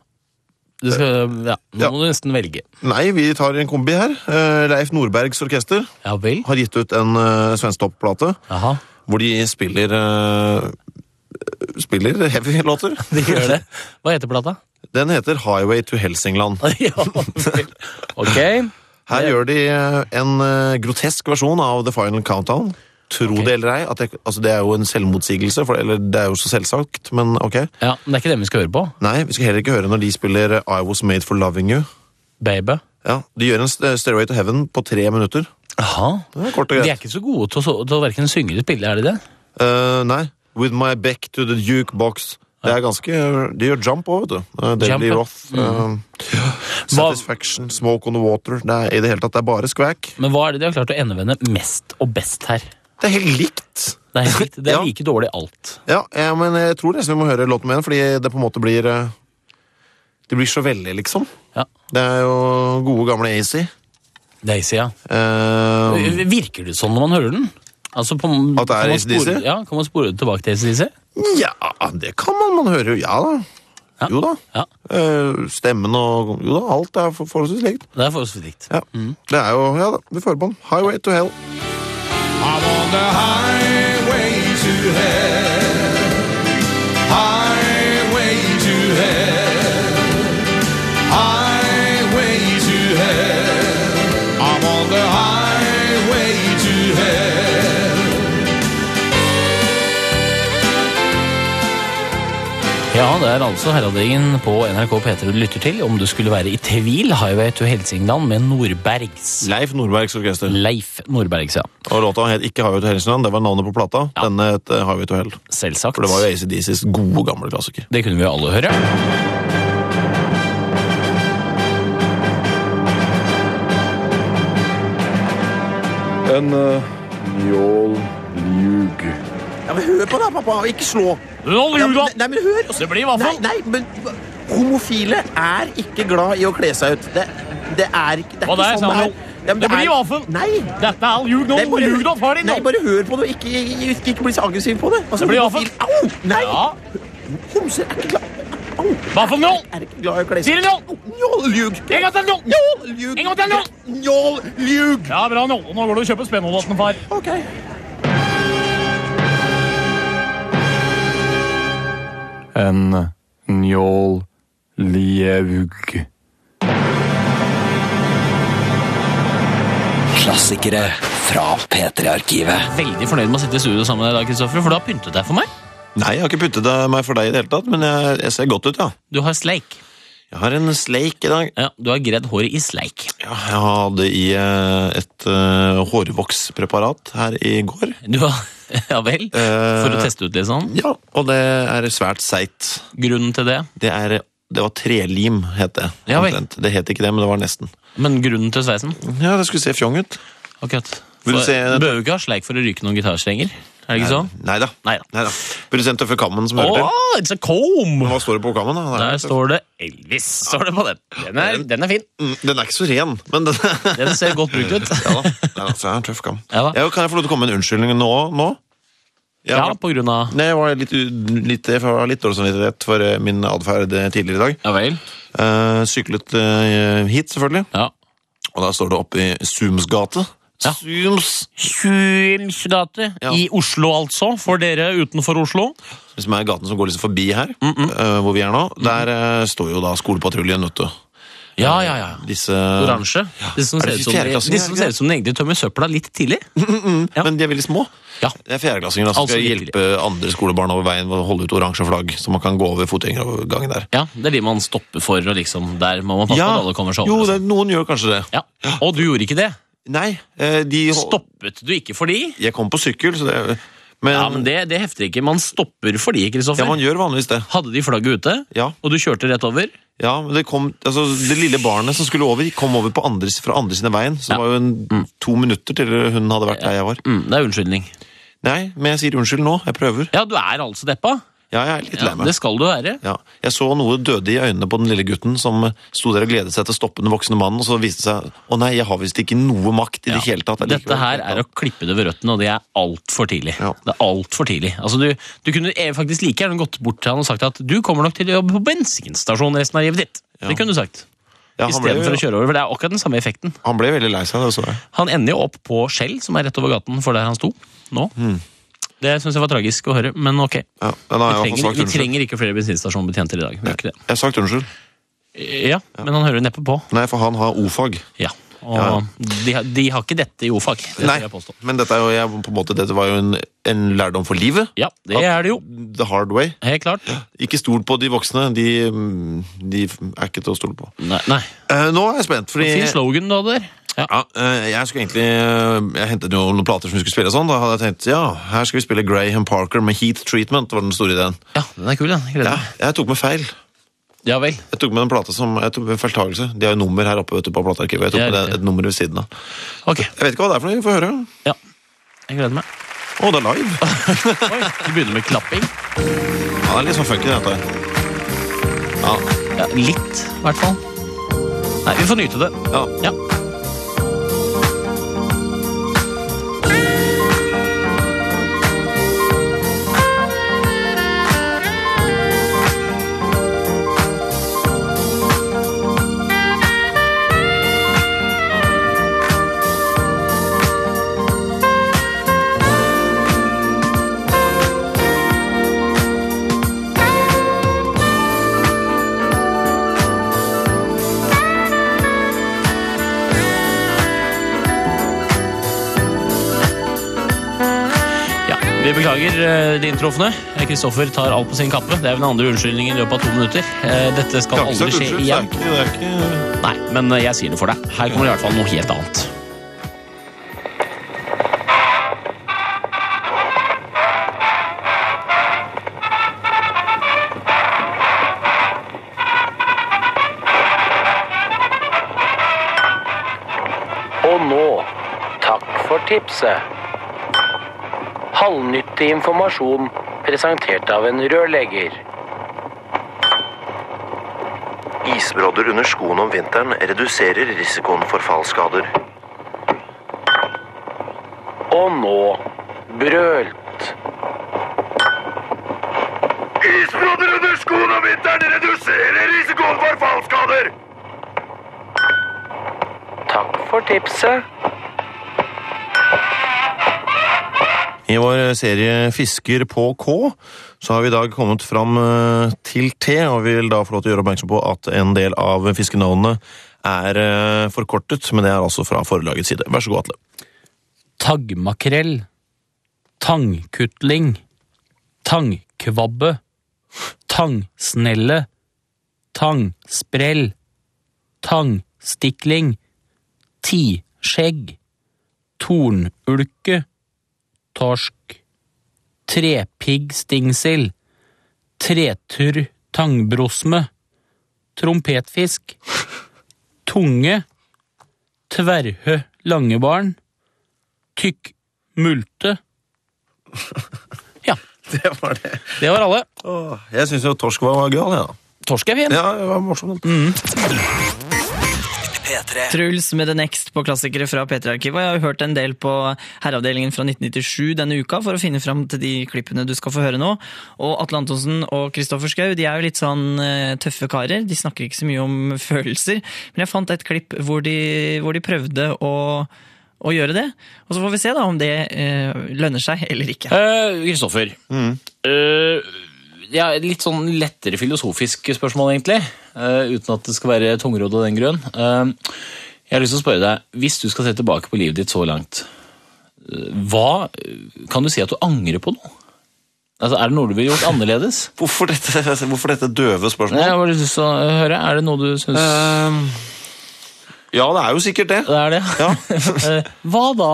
Du skal, ja, nå
Ja.
må du nesten velge.
Nei, vi tar en kombi her. Eh, Leif Nordbergs orkester har gitt ut en uh, svensktopp-plate. Hvor de spiller eh, Spiller heavy låter.
De gjør det. Hva heter plata?
Den heter Highway to Helsingland.
ok.
Her gjør de eh, en eh, grotesk versjon av The Final Countdown. Tro det eller ei. At det, altså det er jo en selvmotsigelse, for, eller det er jo så selvsagt, men ok.
Ja, Men det er ikke dem vi skal høre på.
Nei, vi skal heller ikke høre når de spiller eh, I Was Made for Loving You.
Baby.
Ja, De gjør en st- Stairway to Heaven på tre minutter. Det er kort og
De
greit.
er ikke så gode til å, til å verken synge eller spille, er de det?
Eh, nei. With my back to the jukebox. Det er ganske, De gjør jump òg, vet du. Eh,
Jump,
Daily
ja. Mm.
Roth. eh, satisfaction, Smoke on the Water. Det er, I det hele tatt, det er bare skvæk.
Men hva er det de har klart å endevende mest og best her?
Det er helt likt.
Det er, helt likt. Det er like dårlig alt.
Ja, eh, men jeg tror nesten vi må høre låten med den, fordi det på en måte blir eh, Det blir så veldig, liksom. Det er jo gode, gamle Eh, AC.
Daisy, ja. Virker det sånn når man hører den? Altså på, At
det er ACDC?
Ja, kan man spore det tilbake til ACDC?
Ja, det kan man. Man hører jo ja da. Jo da. Eh, stemmen og Jo da, alt er for, forholdsvis likt.
Det er forholdsvis likt.
Ja. Det er jo Ja da, vi får på den. Highway to hell.
I'm on the highway to hell. Highway to hell. Highway to hell. I'm on the highway to hell.
Ja, det er altså Herreavdelingen på NRK P3 du lytter til. Om du skulle være i tvil, Highway to Helsingland med Nordbergs.
Leif Nordbergs orkester.
Leif Nordbergs, ja.
Og låta het ikke Highway to Helsingland, det var navnet på plata. Denne het eh, Highway to Hell.
Selvsagt.
For det var jo ACDCs gode, gamle klassiker.
Det kunne vi jo alle høre.
En eh, njål ljug.
Ja, men Hør på da, pappa, og ikke slå.
Nå,
ja, men, nei, men hør.
Det blir i hvert fall.
Nei, nei, men homofile er ikke glad i å kle seg ut. Det, det er ikke, det er
Og
ikke
der sa
sånn det
han
er.
Ja, men
Det blir vaffel!
Nei!
Dette er ljug nå!
Nei, bare-
Ljug nå, far din! nå.
Nei, bare hør på det, og ikke, ikke, ikke bli så aggressiv på det. Altså,
Det blir
du-
vaffel.
Au! Nei!
Ja.
Homser er ikke glad
Vaffel nå!
Er ikke glad i å kle
Sier du nå?
Njål, ljug!
En gang til nå! En gang til nå!
Njål, ljug!
Ja, bra nå. Nå går du og kjøper spennolatten, far.
Ok.
En njål lievugg.
Klassikere fra P3-arkivet.
Veldig fornøyd med å sitte i studio sammen med deg, i dag, Kristoffer, for du har pyntet deg for meg.
Nei, jeg har ikke puttet det- meg for deg i det hele tatt, men jeg, jeg ser godt ut, ja.
Du har sleik.
Jeg har en sleik i dag.
Ja, Du har gredd håret i sleik.
Ja, jeg hadde i eh, et eh, hårvokspreparat her i går.
Du har, ja
Eh.
vel? For å teste ut litt sånn?
Ja, og det er svært seigt.
Grunnen til det?
Det, er, det var trelim, het det.
Ja vel.
omtrent. Det het ikke det, men det var nesten.
Men grunnen til sveisen?
Ja, det skulle se fjong ut.
Akkurat.
Vil du
For-
se-
du behøver jo ikke ha sleik for å ryke noen gitarstrenger. Er det ikke sånn?
Nei da. Neida. Produsent Tøffe Kammen som hører til.
Åh, it's a comb!
Hva står det på kammen? da?
Der står det Elvis. Står det på den. Den er, den er fin.
Mm, Den er ikke så ren, men den,
Den ser godt brukt ut.
ja da. Ja, da, så jeg har en tøff kam. Ja, kan jeg få lov til å komme med en unnskyldning nå? nå?
Ja, på grunn av
Nei, jeg var litt, u- litt, jeg var litt dårlig samvittighet for eh, min atferd eh, tidligere i dag.
Ja vel.
syklet eh, hit, selvfølgelig. Og da står det oppe i Zooms gate. Sums.
Sumsgate i Oslo, altså. For dere utenfor Oslo.
som er gaten som går liksom forbi her, eh, hvor vi er nå. Der eh, står jo da skolepatruljen, vet du.
Ja, ja, ja.
Disse
Oransje. Disse som ser
Er det
ut som,
fjerdeklassinger,
de
er
som,
det
ser ut som de egentlig tømmer søpla litt tidlig.
Men de er veldig små.
Ja.
Det er fjerdeklassinger som
Altså,
skal
litt
hjelpe andre skolebarn over veien ved å holde ut oransje flagg, så man kan gå over fotgjengerovergangen der.
Ja, Det er de man stopper for, og liksom der må man passe på at alle kommer sånn, liksom. seg
jo,
over.
det, noen gjør kanskje det.
Ja. Og du gjorde ikke det?
Nei, eh, de
Stoppet du ikke for de?
Jeg kom på sykkel, så det men,
Ja, men det, det hefter ikke. Man stopper for de, Kristoffer.
Ja, man gjør vanligvis det.
Hadde de flagget ute?
Ja.
Og du kjørte rett over?
Ja, men det kom altså, Det lille barnet som skulle over, kom over på andre, fra andre siden av veien. Så det var jo en,
Mm.
to minutter til hun hadde vært der jeg var.
det er unnskyldning.
Nei, men jeg sier unnskyld nå. Jeg prøver.
Ja, du er altså deppa.
Ja, jeg er litt lei meg.
det skal du være.
Ja. Jeg så noe døde i øynene på den lille gutten som sto der og gledet seg til å stoppe den voksne mannen, og så viste det seg å nei, jeg har visst ikke noe makt i det hele tatt.
Dette her er å klippe det ved røttene, og det er altfor tidlig. Det er alt for tidlig. Altså, du, du kunne eh, faktisk like gjerne gått bort til han og sagt at du kommer nok til å jobbe på bensinstasjon resten av livet ditt. Det kunne du sagt.
Ja, han ble jo-
Istedenfor å kjøre over, for det er akkurat den samme effekten.
Han ble veldig lei seg, det så jeg.
Han ender jo opp på Skjell, som er rett over gaten for der han sto nå.
Hmm.
Det syns jeg var tragisk å høre, men ok.
men da har jeg
vi, trenger,
i hvert fall sagt
vi trenger ikke flere bensinstasjonbetjenter i dag. Vi gjør ikke det.
Jeg har sagt unnskyld.
Ja, men han hører neppe på.
Nei, for han har o-fag.
Ja, Og De, har- de har ikke dette i o-fag. det
Nei,
skal jeg påstå.
men dette, er jo, jeg, på en måte, dette var jo en, en lærdom for livet.
Ja, det er det jo.
The hard way.
Helt klart.
Ikke stol på de voksne. De, mm, de er ikke til å stole på.
Nei, nei.
Eh, nå er jeg spent, fordi
Fin slogan du hadde der. Ja.
eh, jeg skulle egentlig eh, Jeg hentet jo noen plater som vi skulle spille og sånn. Da hadde jeg tenkt ja, her skal vi spille Graham Parker med Heat Treatment. var den store ideen.
Ja, den er kul, den.
Ja, jeg tok med feil.
Ja vel.
Jeg tok med en plate som Jeg tok med en feiltagelse. De har jo nummer her oppe vet du, på platearkivet. Jeg tok
Ja,
med
riktig.
det, et nummer ved siden av.
Ok.
Jeg vet ikke hva det er for noe. Vi får høre.
Ja. Jeg gleder meg.
Å, det er live!
Oi, vi begynner med klapping.
Ja, det er litt sånn funky, dette her. Ja.
Ja, litt, i hvert fall. Nei, vi får nyte det.
Ja.
Ja, Vi beklager eh, de inntrufne. Eh, Kristoffer tar alt på sin kappe. Det er vel den andre unnskyldningen i løpet av to minutter. Eh, Dette skal
Takk,
aldri
sagt,
skje
unnskyld.
igjen.
Det er ikke- det er ikke-
Nei, men eh, jeg sier det for deg. Her kommer det i hvert fall noe helt annet.
Og nå, takk for tipset. Halvnyttig informasjon presentert av en rørlegger.
Isbrodder under skoene om vinteren reduserer risikoen for fallskader.
nå brølt.
Isbrodder under skoene om vinteren reduserer risikoen for fallskader!
Takk for tipset.
I vår serie Fisker på K så har vi i dag kommet fram eh, til T, og vi vil da få lov til å gjøre oppmerksom på at en del av fiskenavnene er eh, forkortet, men det er altså fra forlagets side. Vær så god, Atle.
Taggmakrell. Tangkutling. Tangkvabbe. Tangsnelle. Tangsprell. Tangstikling. Tiskjegg. Tornulke. Torsk. Trepiggstingsel. Treturr tangbrosme. Trompetfisk. Tunge. Tverrhø langebarn. Tykk multe. Ja.
Det var det.
Det var alle.
Jeg syns jo torsk var gøyal, jeg, da.
Torsk er fin.
Ja, det var morsomt.
Truls med The Next på klassikere fra P3-arkivet. Jeg har jo hørt en del på Herreavdelingen fra 1997 denne uka for å finne fram til de klippene du skal få høre nå. Og Atle Antonsen og Kristoffer Schou de er jo litt sånn eh, tøffe karer. De snakker ikke så mye om følelser. Men jeg fant et klipp hvor de, hvor de prøvde å, å gjøre det. Og så får vi se da om det eh, lønner seg eller ikke.
Eh, Kristoffer.
Mm.
Eh, ja, litt sånn lettere filosofisk spørsmål, egentlig.
Eh, uten at det skal være tungrodd av den grunn. Eh, jeg har lyst til å spørre deg, hvis du skal se tilbake på livet ditt så langt, eh, hva kan du si at du angrer på nå? Altså, er det noe du ville gjort annerledes?
Hvorfor dette, døve spørsmålet?
Nei, jeg har bare lyst til å høre, er det noe du syns
Eh, Ja, det er jo sikkert det.
Det er det. Eh, Hva da?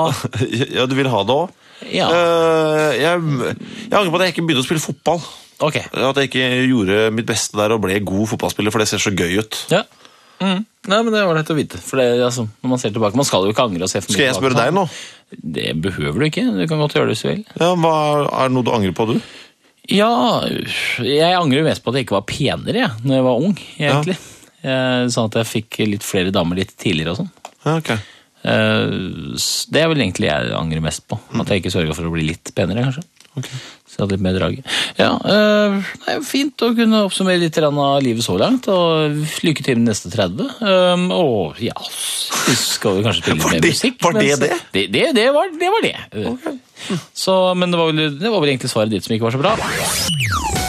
ja, du vil ha det òg?
Ja.
Eh, jeg, jeg angrer på at jeg ikke begynte å spille fotball. At jeg ikke gjorde mitt beste der og ble god fotballspiller, for det ser så gøy ut.
Ja. Mm. Nei, men Det var lett å vite. For det, altså, når Man ser tilbake, man skal jo ikke angre. og se for mye
Skal jeg
tilbake,
spørre deg nå?
Det behøver du ikke. Du kan godt gjøre det hvis du vil.
Ja, hva Er det noe du angrer på, du?
Ja, jeg angrer jo mest på at jeg ikke var penere jeg, når jeg var ung. egentlig. Eh, Sånn at jeg fikk litt flere damer litt tidligere og sånn.
Ja, ok.
Eh, s- Det er vel egentlig jeg angrer mest på. At jeg ikke sørga for å bli litt penere, kanskje. Så jeg hadde litt mer drag. Ja, eh, det er jo fint å kunne oppsummere litt grann av livet så langt. Og lykke til med neste 30. Um, og ja, vi skal jo kanskje spille litt
Var
mer
det-
musikk.
var det
men så-
det?
Det, det, det, var, det var det. Eh, Så, men det var, vel, det var vel egentlig svaret ditt som ikke var så bra.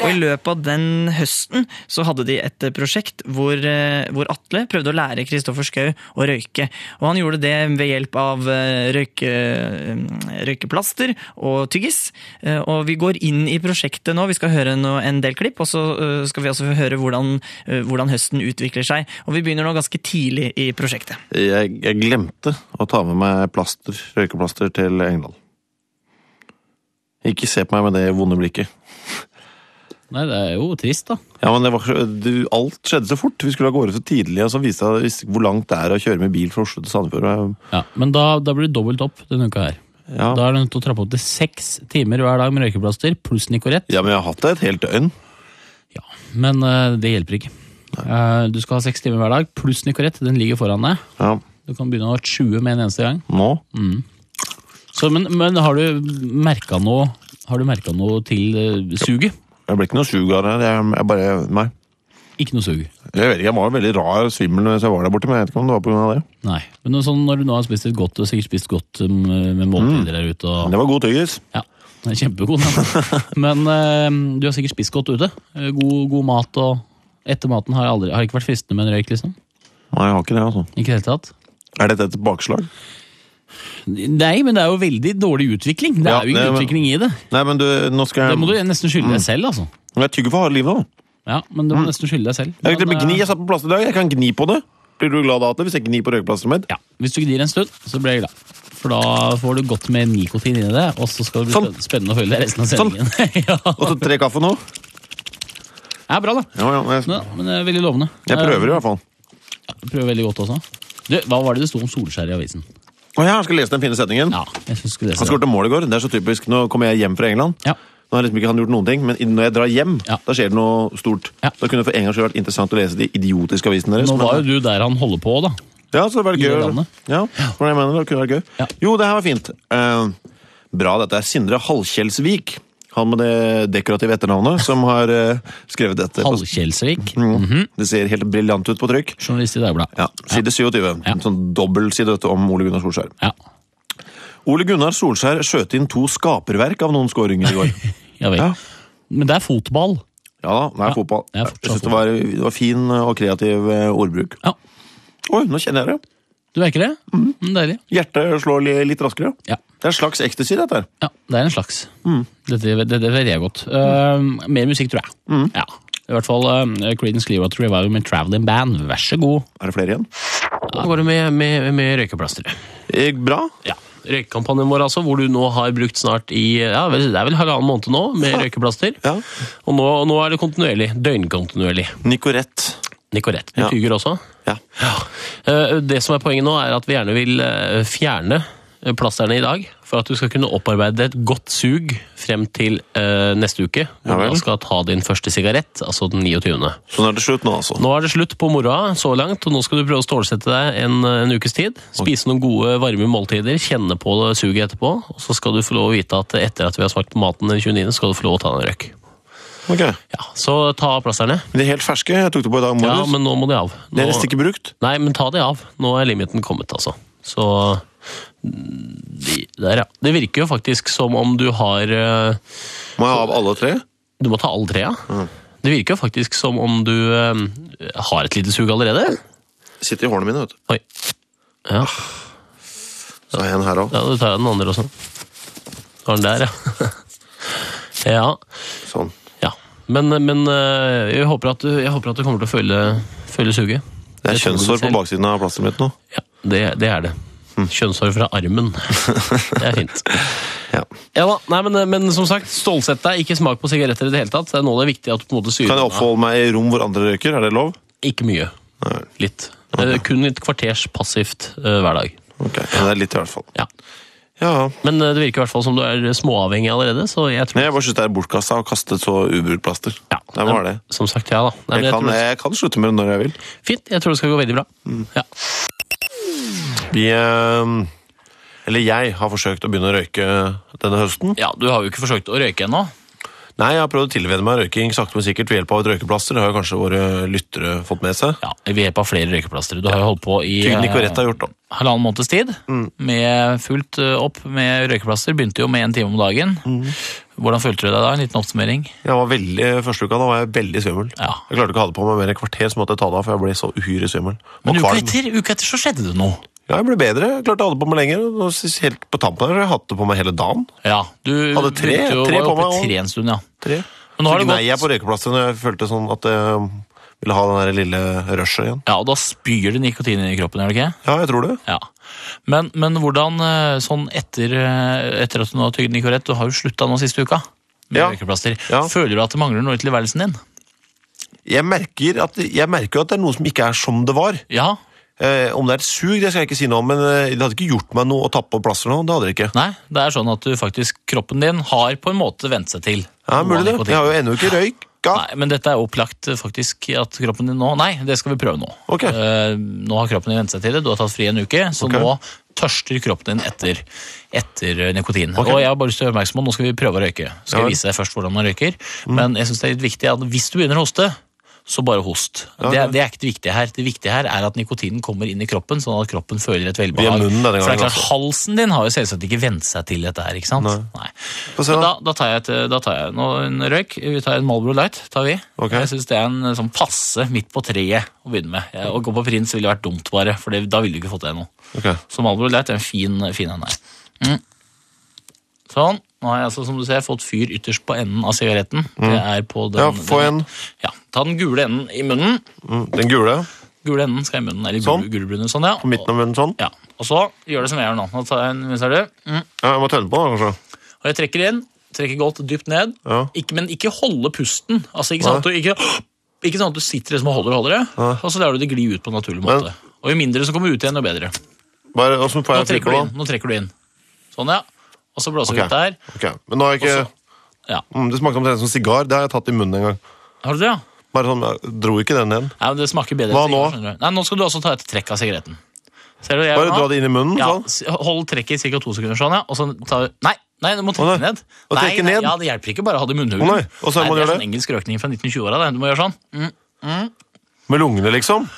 Og I løpet av den høsten så hadde de et prosjekt hvor, eh, hvor Atle prøvde å lære Kristoffer Schou å røyke. Og han gjorde det ved hjelp av eh, røyke, eh, røykeplaster og tyggis. Eh, Og vi går inn i prosjektet nå, vi skal høre no- en del klipp, og så eh, skal vi også høre hvordan, eh, hvordan høsten utvikler seg. Og vi begynner nå ganske tidlig i prosjektet.
Jeg, jeg glemte å ta med meg plaster, røykeplaster til England. Ikke se på meg med det vonde blikket.
Nei, det er jo trist, da.
Ja, men det var, så- du, Alt skjedde så fort. Vi skulle av gårde så tidlig, og så viste jeg visste ikke hvor langt det er å kjøre med bil fra Oslo til Sandefjord.
Ja, men da, da blir det dobbelt opp denne uka her. Da er du nødt til å trappe opp til seks timer hver dag med røykeplaster pluss Nicorette.
Ja, men jeg har hatt det et helt døgn.
Men eh, det hjelper ikke. Eh, du skal ha seks timer hver dag pluss Nicorette. Den ligger foran deg. Du kan begynne å ha 20 med en eneste gang.
Nå?
Mm. Så, men, men har du merka noe, har du merket noe til eh, suget?
Jeg ble ikke noe sug av det. Jeg, jeg bare, nei.
Ikke noe sug?
Jeg vet ikke, jeg var jo veldig rar og svimmel mens jeg var der borte, men jeg vet ikke om det var på grunn av det.
Nei. Men sånn, når du nå har spist litt godt, og sikkert spist godt um, med måltider der ute og...
Det var god tyggis.
Ja, den er kjempegod. den. Men eh, du har sikkert spist godt ute. Eh, God, god mat og Etter maten har jeg aldri, har jeg ikke vært fristende med en røyk, liksom.
Nei, jeg har ikke det, altså.
Ikke i det hele tatt.
Er dette et bakslag?
Nei, men det er jo veldig dårlig utvikling. Det
Ja,
er jo ingen
det-
utvikling i det.
Nei, men du, nå skal
Det
jeg...
må du nesten skylde
Mm.
deg selv, altså.
Men Jeg tygger for harde livet, da.
Ja, men du
Mm.
må nesten skylde deg selv.
Jeg, kan til og
Men,
med gni,
eh,
jeg satt på plass i dag, jeg kan gni på det. Blir du glad av det hvis jeg gnir på røykeplasteret mitt?
Hvis du gnir en stund, så blir jeg glad. For da får du godt med nikotin inni det, og så skal det bli
Sånn.
spen- spennende å følge deg resten av
Sånn.
sendingen. ja.
Og så tre kaffe nå?
Det er bra, da.
Ja, ja, jeg,
Ja, men det er veldig lovende.
jeg prøver
eh,
i hvert fall.
Du prøver veldig godt også. Du, hva var det det sto om Solskjær i avisen?
Å ja, jeg skal lese den fine setningen.
Jeg synes du skulle lese
Han skåret mål i går. Det er så typisk. Nå kommer jeg hjem fra England. Nå har liksom ikke han gjort noen ting, men i- når jeg drar hjem, da skjer det noe stort. Da kunne det for en gangs skyld vært interessant å lese de idiotiske avisene
det.
deres.
Nå
men-
var jo du der han holder på, da.
Ja, så det var
I det
gøy.
landet.
Ja, for det jeg mener, det kunne vært gøy. Jo, det her var fint. Eh, bra, dette er Sindre Halkjelsvik. Han med det dekorative etternavnet som har eh, skrevet dette.
Halkjelsvik?
Mm. Det ser helt briljant ut på trykk.
Journalist i Dagbladet.
Ja, side 27. En sånn dobbeltside dette om Ole Gunnar Solskjær. Ole Gunnar Solskjær skjøt inn to skaperverk av noen skåringer i går.
ja vel. Men det er fotball.
Ja da, det er fotball. Jeg synes det var, det var fin og kreativ eh, ordbruk. Oi, nå kjenner jeg det.
Du merker det?
Mhm.
Mm, deilig.
Hjertet slår li- litt raskere. Det er en slags ecstasy, dette her.
Ja, det er en slags.
Mm.
Dette, dette vet jeg godt. Eh, mer musikk, tror jeg.
Mm.
Ja. I hvert fall uh, Creedence Clearwater Revival med Traveling Band. Vær så god.
Er det flere igjen?
Da går det med, med, med røykeplasteret.
Bra.
Ja. Røykekampanjen vår, altså, hvor du nå har brukt snart i ja, vel, det er vel halvannen måned nå med røykeplaster. Og nå, nå er det kontinuerlig. Døgnkontinuerlig.
Nicorette.
Nicorette. Du tyger også?
Ja.
Eh, Det som er poenget nå, er at vi gjerne vil eh, fjerne eh, plasterne i dag. For at du skal kunne opparbeide et godt sug frem til eh, neste uke.
Ja
Når
vel.
du da skal ta din første sigarett, altså den 29.
Sånn er det slutt nå, altså.
Nå er det slutt på moroa så langt, og nå skal du prøve å stålsette deg en, eh, en ukes tid. Spise noen gode, varme måltider, kjenne på det suget etterpå, og så skal du få lov å vite at etter at vi har smakt maten den 29., skal du få lov å ta deg en røyk.
Ok.
Ja, så ta av plasterne.
Men de er helt ferske. Jeg tok det på i dag morges.
Ja, men nå må de av. Nå...
Det er visst ikke brukt.
Nei, men ta de av. Nå er limiten kommet, altså. Så mm, de, Der, ja. Det virker jo faktisk som om du har eh,
Må jeg av alle tre?
Du må ta alle tre, ja.
Mm.
Det virker jo faktisk som om du eh, har et lite sug allerede.
Sitter i hårene mine, vet du.
Oi. Ja.
Så har jeg en her òg.
Ja, du tar den andre også. Har den der, ja. ja.
Sånn.
Ja. Men, men eh, jeg, håper at du, jeg håper at du kommer til å føle, føle suget.
Det er
Jeg tror det
kjønnshår på Mm.
selv.
baksiden av plasteret mitt nå.
Det, det er det. Kjønnshår fra armen. Det er fint.
Ja.
da, nei, men, men som sagt, stålsett deg. Ikke smak på sigaretter i det hele tatt. Det er nå det er viktig at du på en måte syrer
Kan jeg oppholde meg i rom hvor andre røyker? Er det lov?
Ikke mye. Litt. Eh, Kun et kvarters passivt eh, hver dag.
Ok, men det er litt i hvert fall.
Ja.
Ja.
Men eh, det virker i hvert fall som du er småavhengig allerede. Så jeg tror
Men jeg bare synes det er bortkasta å kaste et så ubrukt plaster. Ja, det var det.
Som sagt, ja da. Nei, men
jeg,
jeg
kan,
tror det-
jeg kan slutte med det Mm. når jeg vil.
Fint. Jeg tror det skal gå veldig bra. Ja.
Vi, eh, eller jeg, har forsøkt å begynne å røyke denne høsten.
Ja, Du har jo ikke forsøkt å røyke ennå.
Nei, jeg har prøvd å tilvenne meg røyking sakte, men sikkert ved hjelp av et røykeplaster. Det har jo kanskje våre lyttere fått med seg.
Ja, Ved hjelp av flere røykeplaster. Du har jo holdt på i
Tygd
eh,
Nicorette har gjort det.
halvannen måneds tid.
Mm.
Med fullt eh, opp med røykeplaster. Begynte jo med én time om dagen.
Mm.
Hvordan følte du deg da? En liten oppsummering.
Jeg var veldig, Første uka da var jeg veldig svimmel. Jeg klarte ikke å ha det på meg mer enn et kvarter, så måtte jeg ta det av, for jeg ble så uhyre svimmel. Og
Men uka
kvalm.
etter, uka etter så skjedde det noe.
Ja, jeg ble bedre. Jeg klarte å ha det på meg lenger. og nå synes jeg Helt på tampen her, har jeg hatt det på meg hele dagen.
Ja, du
Hadde tre,
brukte jo-
tre
var
på
jo
meg.
oppe i
også.
tre en stund, ja.
Tre.
Men nå
Så
har det
gnei jeg
gått-
på røykeplaster når jeg følte sånn at jeg ville ha den der lille rushet igjen.
Ja, og da spyr det nikotin i kroppen, gjør det ikke?
Ja, jeg tror det.
Ja. Men, men hvordan, eh, sånn etter, eh, etter at du nå har tygd Nicorette, du har jo slutta nå siste uka med røykeplaster. Føler du at det mangler noe i tilværelsen din?
Jeg merker, at, jeg merker jo at det er noe som ikke er som det var. Eh, om det er et sug, det skal jeg ikke si noe om, men eh, det hadde ikke gjort meg noe å tappe på plaster nå. Det hadde det ikke.
Nei, det er sånn at du faktisk, kroppen din har på en måte vent seg til.
Ja, mulig det. Jeg har jo ennå ikke røyk.
Nei, men dette er opplagt eh, faktisk at kroppen din nå Nei, det skal vi prøve nå. Eh, nå har kroppen din vent seg til det, du har tatt fri en uke, så
Ok.
nå tørster kroppen din etter, etter eh, nikotin.
Ok.
Og jeg har bare lyst til å gjøre oppmerksom på nå skal vi prøve å røyke. Så skal
Ja Mm. vel.
jeg vise deg først hvordan man røyker. Men jeg synes det er litt viktig at hvis du begynner å hoste, så bare host.
Ja,
det, er-
ok.
det er ikke det viktige her. Det viktige her er at nikotinen kommer inn i kroppen, sånn at kroppen føler et velbehag.
Via munnen denne
For det er
gangen
klart,
også.
halsen din har jo selvsagt ikke vent seg til dette her, ikke sant? Nei. Men Da, da tar jeg, et, da tar jeg nå en røyk. Vi tar en Marlboro Light. tar vi. Jeg syns det er en sånn passe midt på treet å begynne med. Jeg- Å gå på Prins ville vært dumt, bare, for det, da ville du ikke fått deg noe.
Ok.
Så Marlboro Light er en fin, fin en her. Mm. Sånn. Nå har jeg altså, som du ser, fått fyr ytterst på enden av sigaretten.
Mm.
Det er på den,
Ja, få
den- Ja, Ta den gule enden i munnen.
Den gule?
Gule enden skal i munnen. Eller sånn. gulbrune, sånn, ja. På
midten av munnen, sånn?
Ja. Og så gjør det som jeg gjør nå. Nå tar jeg en, minst er det. Mm.
Ja, jeg må tønne på den, kanskje.
Og jeg trekker inn, trekker godt dypt ned,
Ja.
ikke, men ikke holde pusten. Altså, ikke, sånn at du, ikke, ikke sånn at du sitter liksom og holder og holder det, og så lar du det gli ut på en naturlig måte. og jo mindre som kommer ut igjen, jo bedre.
Bare, og så får
Nå
jeg
trekker,
trykke
du
på
inn,
den.
nå trekker du inn. Sånn, ja. Og så blåser
Ok.
vi ut der.
Ok, Men nå har jeg ikke mm, Det smakte omtrent som sigar. Det har jeg tatt i munnen en gang.
Har du det, ja?
Bare sånn, jeg dro ikke den igjen.
Nei, men det smaker bedre.
Hva
enn sigar,
nå?
skjønner du. Nei, nå skal du også ta et trekk av sigaretten. Ser du hva jeg
Bare
gjør nå?
dra det inn i munnen,
Ja,
sånn.
s- Hold trekket i ca. to sekunder sånn, ja. Og så tar Nei, nei, du må trekke ned.
Å,
Nei,
trekke
nei,
ned?
Ja, Det hjelper ikke bare å ha det i munnhulen.
Å, nei. Og så må
det
du
er
gjøre
sånn engelsk røkning fra 1920-åra. det. Du må gjøre sånn. Mm, mm.
Med lungene, liksom.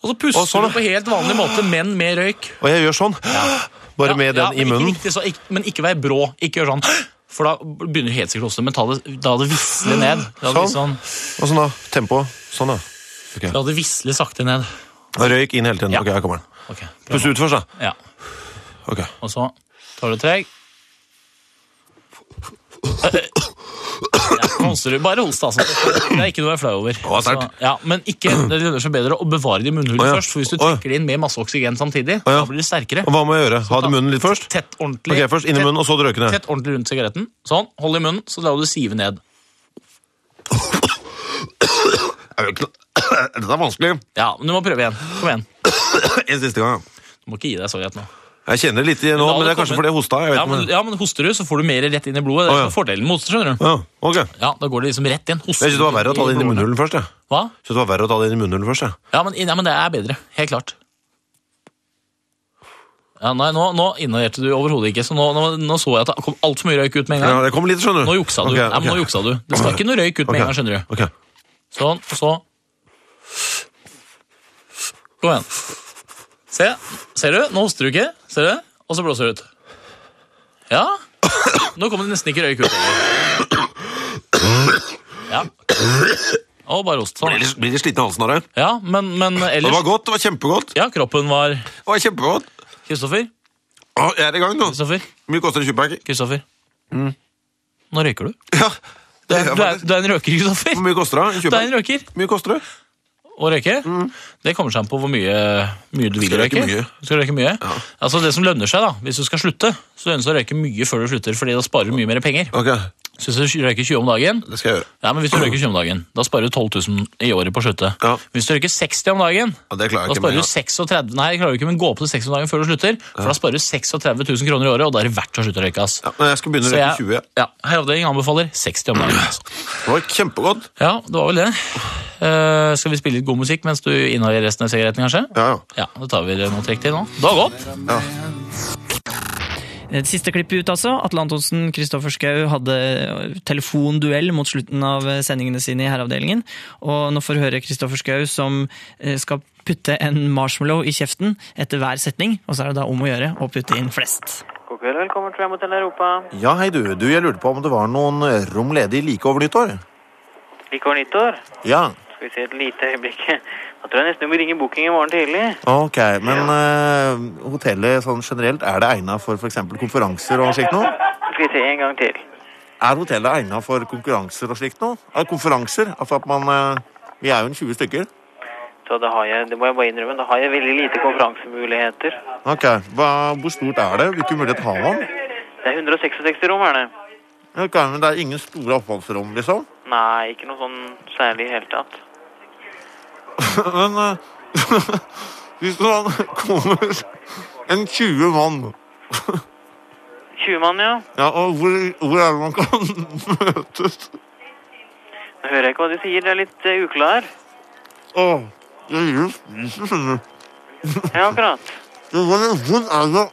Og så puster
Og sånn,
du på helt vanlig måte, men med røyk.
Og jeg gjør sånn. Bare med den
Ja,
i
men Ikke
munnen.
riktig, så, ikke, men ikke vær brå. Ikke gjør sånn, for da begynner du helt sikkert også, men ta det, la det visle ned. La det,
Sånn.
sånn.
Og sånn, da. Tempo. Sånn, da. Ok.
la det visle sakte ned.
Og Røyk inn hele tiden. Ok, her kommer den. Pust ut først, da.
Ja.
Ok.
Og så tar du treg. Ja, hoster du. Bare host, altså. Det er ikke noe å være flau over. Så, ja, men ikke, det lønner seg bedre å bevare det i munnhulen
Å, ja.
først, for hvis du trekker det inn med masse oksygen samtidig, da blir det sterkere.
Og hva må jeg gjøre? Ha det i munnen litt først?
Tett ordentlig.
Ok, først inn i
Tett-
munnen, og så røyke ned.
Tett ordentlig rundt sigaretten. Sånn, hold i munnen, så lar du det sive ned.
Dette er vanskelig.
Ja, men du må prøve igjen. Kom igjen.
En siste gang.
Du må ikke gi deg så lett nå.
Jeg kjenner det litt i nå,
La
men det er
komme.
kanskje fordi jeg hosta. Jeg vet
ja,
ikke,
men,
men...
ja, men hoster du, så får du mer rett inn i blodet. Det er
Å, ja.
som er fordelen med hoster, skjønner du.
Ja, ok.
Ja, da går det liksom rett inn.
Jeg synes det var verre å ta det inn i munnhulen først. Jeg.
Hva?
Jeg synes det var verre å ta det inn i munnhulen først. Jeg.
Ja, men, ja, men det er bedre. Helt klart. Ja, nei, nå, nå inhalerte du overhodet ikke, så nå, nå, nå så jeg at det kom altfor mye røyk ut med en gang.
Ja, det kom litt, skjønner du.
Nå juksa du.
Ok,
Nei, men
ok.
nå juksa du. Det skal ikke noe røyk ut med
Ok,
en gang, skjønner du.
ok.
Sånn, og så Kom igjen. Se. Ser du? Nå hoster du ikke. Ser du? Og så blåser du ut. Ja. Nå kommer det nesten ikke røyk ut. lenger. Ja. Og bare ost. Sånn.
Blir litt sliten i halsen av det.
Ja, men, men ellers
Det var godt, det var kjempegodt.
Ja, kroppen var Det
var kjempegodt.
Kristoffer?
Å, jeg er i gang nå.
Kristoffer?
Mye koster en tjuvpakke?
Kristoffer? Nå røyker du.
Mm. Ja.
Du er, du er, du er en røker, Kristoffer.
Hvor mye koster det?
Du
En
er
tjuvpakke?
en røker.
mye koster det?
Å røyke? Det kommer seg an på hvor mye, mye du vil
Mm. Skal røyke
røyke.
mye.
Du skal røyke mye. Altså Det som lønner seg, da, hvis du skal slutte, så lønner det seg å røyke mye før du slutter, fordi da sparer du mye mer penger. Så hvis du røyker 20 om dagen,
Det skal jeg gjøre.
ja, men hvis du røyker 20 om dagen, da sparer du 12 000 i året på å slutte. Hvis du røyker 60 om dagen,
Ja,
da
det klarer jeg ikke. men
sparer du
jeg-
36 Nei, jeg klarer ikke, men gå opp til 60 om dagen før du slutter, for da sparer du 36 000 kroner i året, og da er det verdt å slutte å røyke. ass.
Men jeg skal begynne å
Så
røyke
jeg-
20. jeg.
Ja, Herreavdelingen anbefaler 60 om dagen. ass.
Det var kjempegodt.
Ja, det var vel det. Eh, skal vi spille litt god musikk mens du inhaler resten av sigaretten, kanskje?
Ja,
ja. Da tar vi det mot riktig nå. Det var godt.
Et siste klipp ut, altså. Atle Antonsen, Kristoffer Schou hadde eh, telefonduell mot slutten av eh, sendingene sine i Herreavdelingen. Og nå får du høre Kristoffer Schou som eh, skal putte en marshmallow i kjeften etter hver setning. Og så er det da om å gjøre å putte inn flest.
God kveld, velkommen til Motell Europa.
Ja, hei du. Du, jeg lurte på om det var noen eh, rom ledig like over nyttår?
Like over nyttår.
Ja.
Skal vi se et lite øyeblikk. Da tror jeg nesten vi må ringe booking i morgen tidlig.
Ok, men eh, hotellet sånn generelt, er det egnet for f.eks. konferanser og slikt noe?
Skal vi se en gang til.
Er hotellet egnet for konkurranser og slikt noe? Eh, konferanser? Altså at man eh, Vi er jo en 20 stykker.
Så da har jeg, det må jeg bare innrømme, da har jeg veldig lite konferansemuligheter.
Ok, Hva, Hvor stort er det? Hvilken mulighet har man?
Det er 166 rom, er det?
Ok, men Det er ingen store oppholdsrom, liksom?
Nei, ikke noe sånn særlig i hele tatt.
men eh, hvis man kommer en 20 mann
20 mann, ja.
ja, og hvor, hvor er det man kan møtes?
Nå hører jeg ikke hva de sier, det er litt eh, uklar.
Åh, jeg gir jo spisen, skjønner du.
Ja, akkurat.
Det var en vond alder.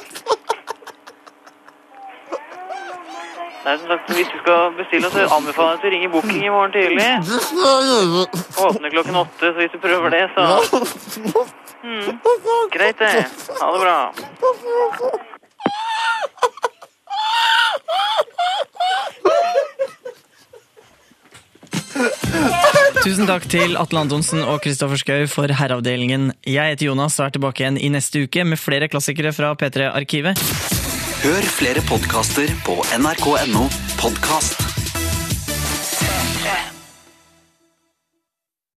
Nei, som sagt, hvis du skal bestille, så anbefaler jeg at du ringer booking i morgen tidlig.
Det skal jeg gjøre.
Åpner klokken åtte, så hvis du prøver det, så mm. Greit, det. Ha det bra.
Tusen takk til Atle Antonsen og Kristoffer Schou for Herreavdelingen. Jeg heter Jonas og er tilbake igjen i neste uke med flere klassikere fra P3-arkivet.
Hør flere podkaster på nrk.no podkast.